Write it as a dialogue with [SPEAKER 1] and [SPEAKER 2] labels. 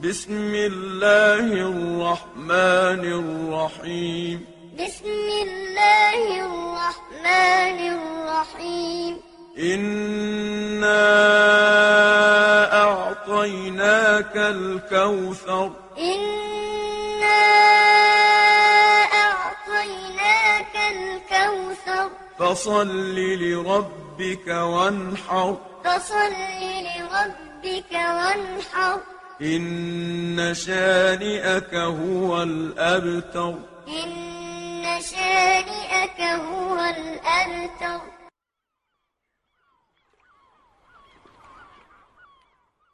[SPEAKER 1] بسم الله الرحمن الرحيم
[SPEAKER 2] بسم الله الرحمن الرحيم
[SPEAKER 1] إنا أعطيناك الكوثر
[SPEAKER 2] إنا أعطيناك الكوثر
[SPEAKER 1] فصل لربك وانحر
[SPEAKER 2] فصل لربك وانحر
[SPEAKER 1] إن شانئك هو الأبتر
[SPEAKER 2] إن شانئك هو الأبتر